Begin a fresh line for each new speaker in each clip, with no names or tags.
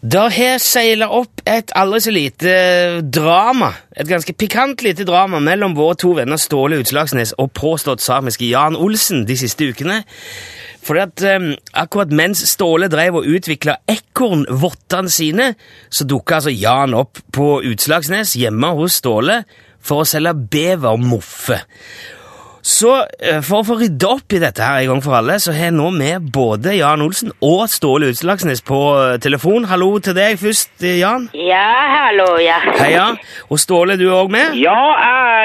Der har seila opp et aldri så lite drama, et ganske pikant lite drama, mellom våre to venner Ståle Utslagsnes og påstått samiske Jan Olsen de siste ukene. Fordi at eh, akkurat mens Ståle drev og utvikla ekornvottene sine, så dukka altså Jan opp på Utslagsnes hjemme hos Ståle for å selge bevermoffe. Så eh, for å få rydda opp i dette her en gang for alle, så har nå vi både Jan Olsen og Ståle Utslagsnes på eh, telefon. Hallo til deg først, eh, Jan.
Ja, hallo, ja.
Heia. Og Ståle, du er òg med?
Ja,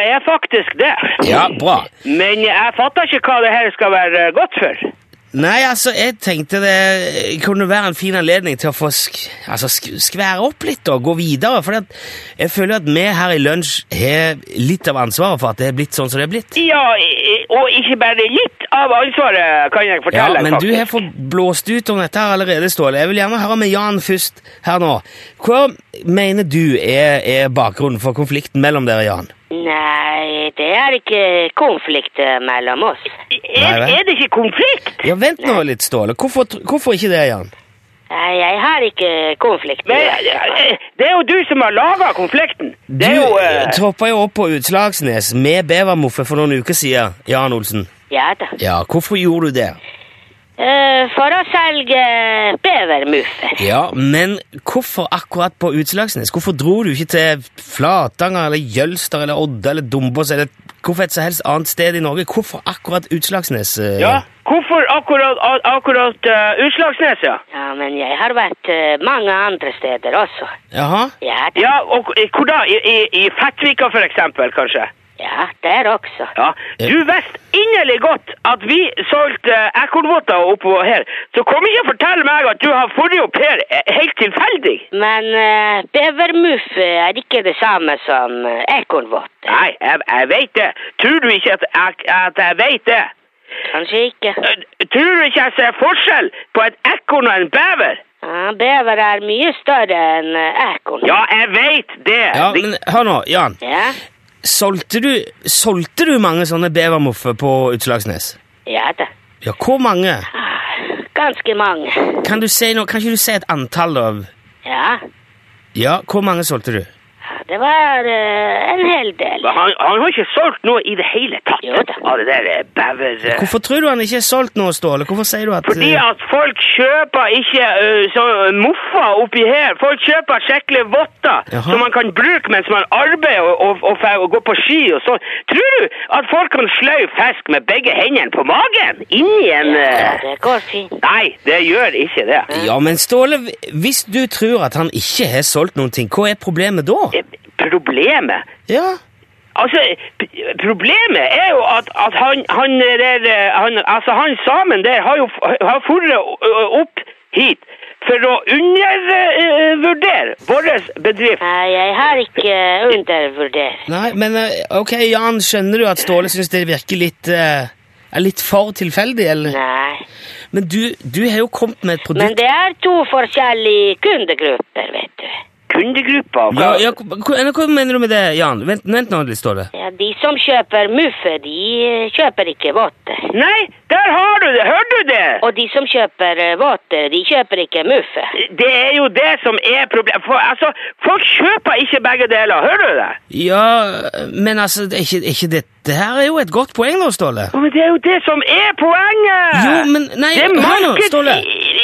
jeg er faktisk det.
Ja, bra.
Men jeg fatter ikke hva det her skal være godt for.
Nei, altså, jeg tenkte det kunne være en fin anledning til å få sk altså, sk skvære opp litt og gå videre. For jeg føler at vi her i Lunsj har litt av ansvaret for at det er blitt sånn som det er blitt.
Ja, i- og ikke bare litt av ansvaret kan jeg
Ja,
fortelle.
Men du
faktisk.
har fått blåst ut om dette her allerede, Ståle. Jeg vil gjerne høre med Jan først her nå. Hva mener du er, er bakgrunnen for konflikten mellom dere, Jan?
Nei, det er ikke konflikt eh, mellom oss.
Nei,
er,
vel?
er det ikke konflikt?
Ja, Vent nå litt, Ståle. Hvorfor, tr- hvorfor ikke det, Jan?
Nei, jeg har ikke konflikt.
Men eh, det er jo du som har laga konflikten.
Du
Det er jo eh,
troppa jo opp på Utslagsnes med bevermoffe for noen uker siden, Jan Olsen.
Ja da.
Ja, Hvorfor gjorde du det?
Eh, For å selge bevermuffer.
Ja, Men hvorfor akkurat på Utslagsnes? Hvorfor dro du ikke til Flatanger eller Jølster eller Odda eller Dombås eller hvorfor et så helst annet sted i Norge? Hvorfor akkurat Utslagsnes? eh?
ja. Hvorfor akkurat, a- akkurat eh, Utslagsnes, ja?
Ja, men jeg har vært eh, mange andre steder også.
Jaha?
Ja da.
Ja, og eh, hvor da? I, i, i Fettvika, for eksempel, kanskje?
Ja, der også.
Ja.
Eh.
Du visste inderlig godt at vi solgte eh, ekornvotter oppå her. Så kom ikke og fortell meg at du har forrige au pair eh, helt tilfeldig.
Men eh, bevermuffe er ikke det samme som eh, ekornvotter.
Nei, jeg, jeg vet det. Tror du ikke at jeg, at jeg vet det?
Kanskje ikke.
Eh, Tror du ikke jeg ser forskjell på et ekorn og en bever?
Ja, bever er mye større enn eh, ekorn.
Ja, jeg vet det.
Ja,
Det-
men hør nå, Jan.
Ja,
Solgte du, solgte du mange sånne bevermoffer på Utslagsnes?
ja da.
Ja, hvor mange?
Ah, Ganske mange.
Kan du si noe, kan ikke du si et antall av
Ja,
Ja, hvor mange solgte du?
det var eh, en hel del.
Men han, han har ikke solgt noe i det hele tatt
Jo da.
av det der eh, bever... eh.
Hvorfor tror du han ikke er solgt nå, Ståle? Hvorfor sier du at
Fordi
eh,
at folk kjøper ikke eh, så eh, moffa oppi her. Folk kjøper skikkelige votter
Jaha.
som man kan bruke mens man arbeider og, og, og, fer- og går på ski og sånn. Tror du at folk kan sløy fisk med begge hendene på magen? Inni en
Ja,
eh,
det går fint.
Nei, det gjør ikke det.
Ja, men Ståle, hvis du tror at han ikke har solgt noen ting, hva er problemet da?
Eh, Problemet
Ja,
Altså, p- problemet er jo at, at han, han, der, eh, han, altså han samen der har jo f- har forret opp hit for å undervurdere vår bedrift.
Nei, jeg har ikke eh, undervurdert.
nei, men eh, ok, Jan, skjønner du at Ståle syns det virker litt eh, er litt for tilfeldig, eller?
Nei.
Men du, du har jo kommet med et produkt
Men det er to forskjellige kundegrupper, vet du.
Kundegruppa og
ja, ja, hva, hva- hva mener du med det, Jan? Vent, vent nå litt, Ståle.
Ja, de som kjøper muffe, de eh, kjøper ikke votter.
Nei, der har du det! Hørte du det?
Og de som kjøper eh, votter, de kjøper ikke muffe.
Det er jo det som er problemet. For, altså, folk kjøper ikke begge deler. Hører du det?
Ja, men altså, det er ikke, er ikke det, det her er jo et godt poeng nå, Ståle.
Ja, Men det er jo det som er poenget!
Jo, men- nei,
det er
hør nå,
marked-
Ståle.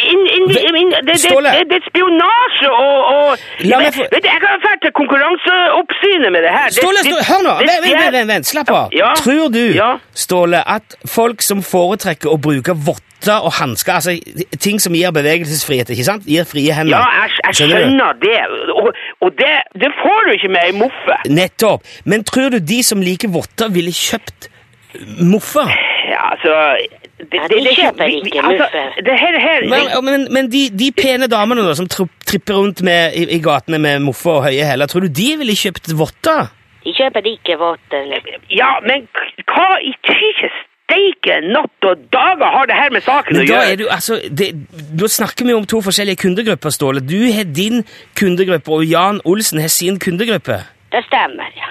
inn- inn-
Ve-
inn- det, det,
Ståle.
Det, det er spionasje og, og
La meg få-
Vet du, Jeg kan dra til Konkurranseoppsynet med det her. Det-
Ståle,
det-
Ståle, hør nå!
det-
Vent,
det
vent,
er-
vent, vent, vent. slapp av.
Ja.
Tror du,
Ja.
Ståle, at folk som foretrekker å bruke votter og hansker, altså ting som gir bevegelsesfrihet, ikke sant? Gir frie hender.
Ja, jeg, jeg
du?
skjønner det. Og, og det, det får du ikke med ei moffe.
Nettopp. Men tror du de som liker votter, ville kjøpt eh, moffer?
Ja, altså det,
Ja,
det-
de
det er
kjøper
vi- vi-
ikke
altså,
muffe.
Det her, her
Men, men, men de, de pene damene da, som tri- tripper rundt med, i, i gatene med moffer og høye hæler, tror du de ville kjøpt votter?
De kjøper ikke votter.
Ja, men k- hva i tyke steike natt og dager har det her med saken å
Men da
gjøre?
er du, altså, det, da snakker vi om to forskjellige kundegrupper, Ståle. Du har din kundegruppe, og Jan Olsen har sin kundegruppe.
Det stemmer, ja.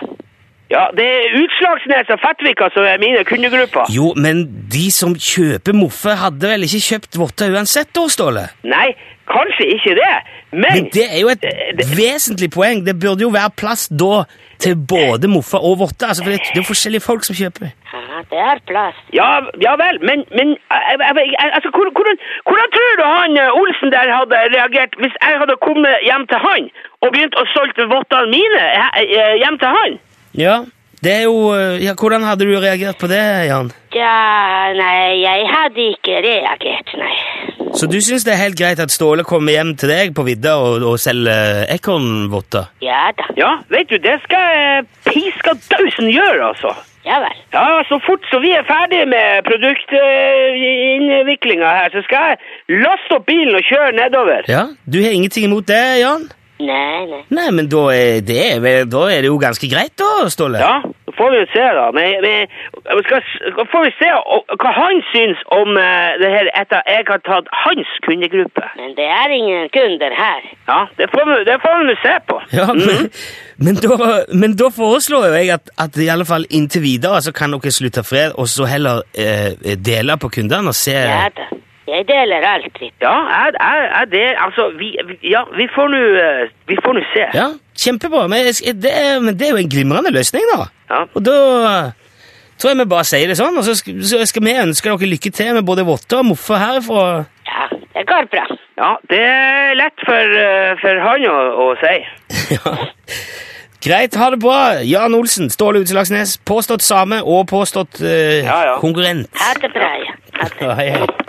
Ja, det er Utslagsnes og Fettvika som er mine kundegrupper.
Jo, men de som kjøper moffe, hadde vel ikke kjøpt votter uansett da, Ståle?
Nei, kanskje ikke det, men
Men det er jo et vesentlig poeng. Det burde jo være plass da til både Moffa og Votte. Altså, for det det er jo forskjellige folk som kjøper.
Ja, det er plass.
Ja, ja vel, men, men jeg- jeg- jeg- jeg- altså, hvor- hvordan, hvordan tror du han eh, Olsen der hadde reagert hvis jeg hadde kommet hjem til han og begynt å solgt vottene mine eh, eh, hjem til han?
Ja, det er jo... eh, Ja, hvordan hadde du reagert på det, Jan?
Ja, nei, jeg hadde ikke reagert, nei.
Så du syns det er helt greit at Ståle kommer hjem til deg på vidda og, og selger ekornvotter?
Ja da.
Ja, vet du, det skal eh, piska dausen gjøre, altså.
Ja vel.
Ja, så fort som vi er ferdige med produktinnviklinga her, så skal jeg laste opp bilen og kjøre nedover.
Ja, du har ingenting imot det, Jan?
Nei, nei.
Nei, men da er det, vel- da er det jo ganske greit da, Ståle.
Ja, så får vi jo se, da. Men, men vi skal, s- får vi se o- hva han syns om eh, det her etter jeg har tatt hans kundegruppe.
Men det er ingen kunder her.
Ja, det får vi- det får vi nå se på.
Ja, men, men, da, men da foreslår jo jeg at, at i alle fall inntil videre så kan dere slutte fred, og så heller eh, dele på kundene og se
Ja da. Jeg deler alltid.
Ja, er, er, er det Altså, vi, vi- ja, vi får nå eh, Vi får nå se.
Ja, kjempebra. Men, jeg skal- det er, men det er jo en glimrende løsning, da.
Ja.
Og da tror jeg vi bare sier det sånn, og så skal, så skal vi ønske dere lykke til med både votter og moffa herfra.
Ja, det går bra.
ja det er lett for, eh, for han å, å si.
Ja. Greit, ha det bra. Jan Olsen, Ståle Utslagsnes, påstått same og påstått eh,
Ja, ja.
konkurrent.
Ha det bra, ja. Ha det.
Ja, hei, hei.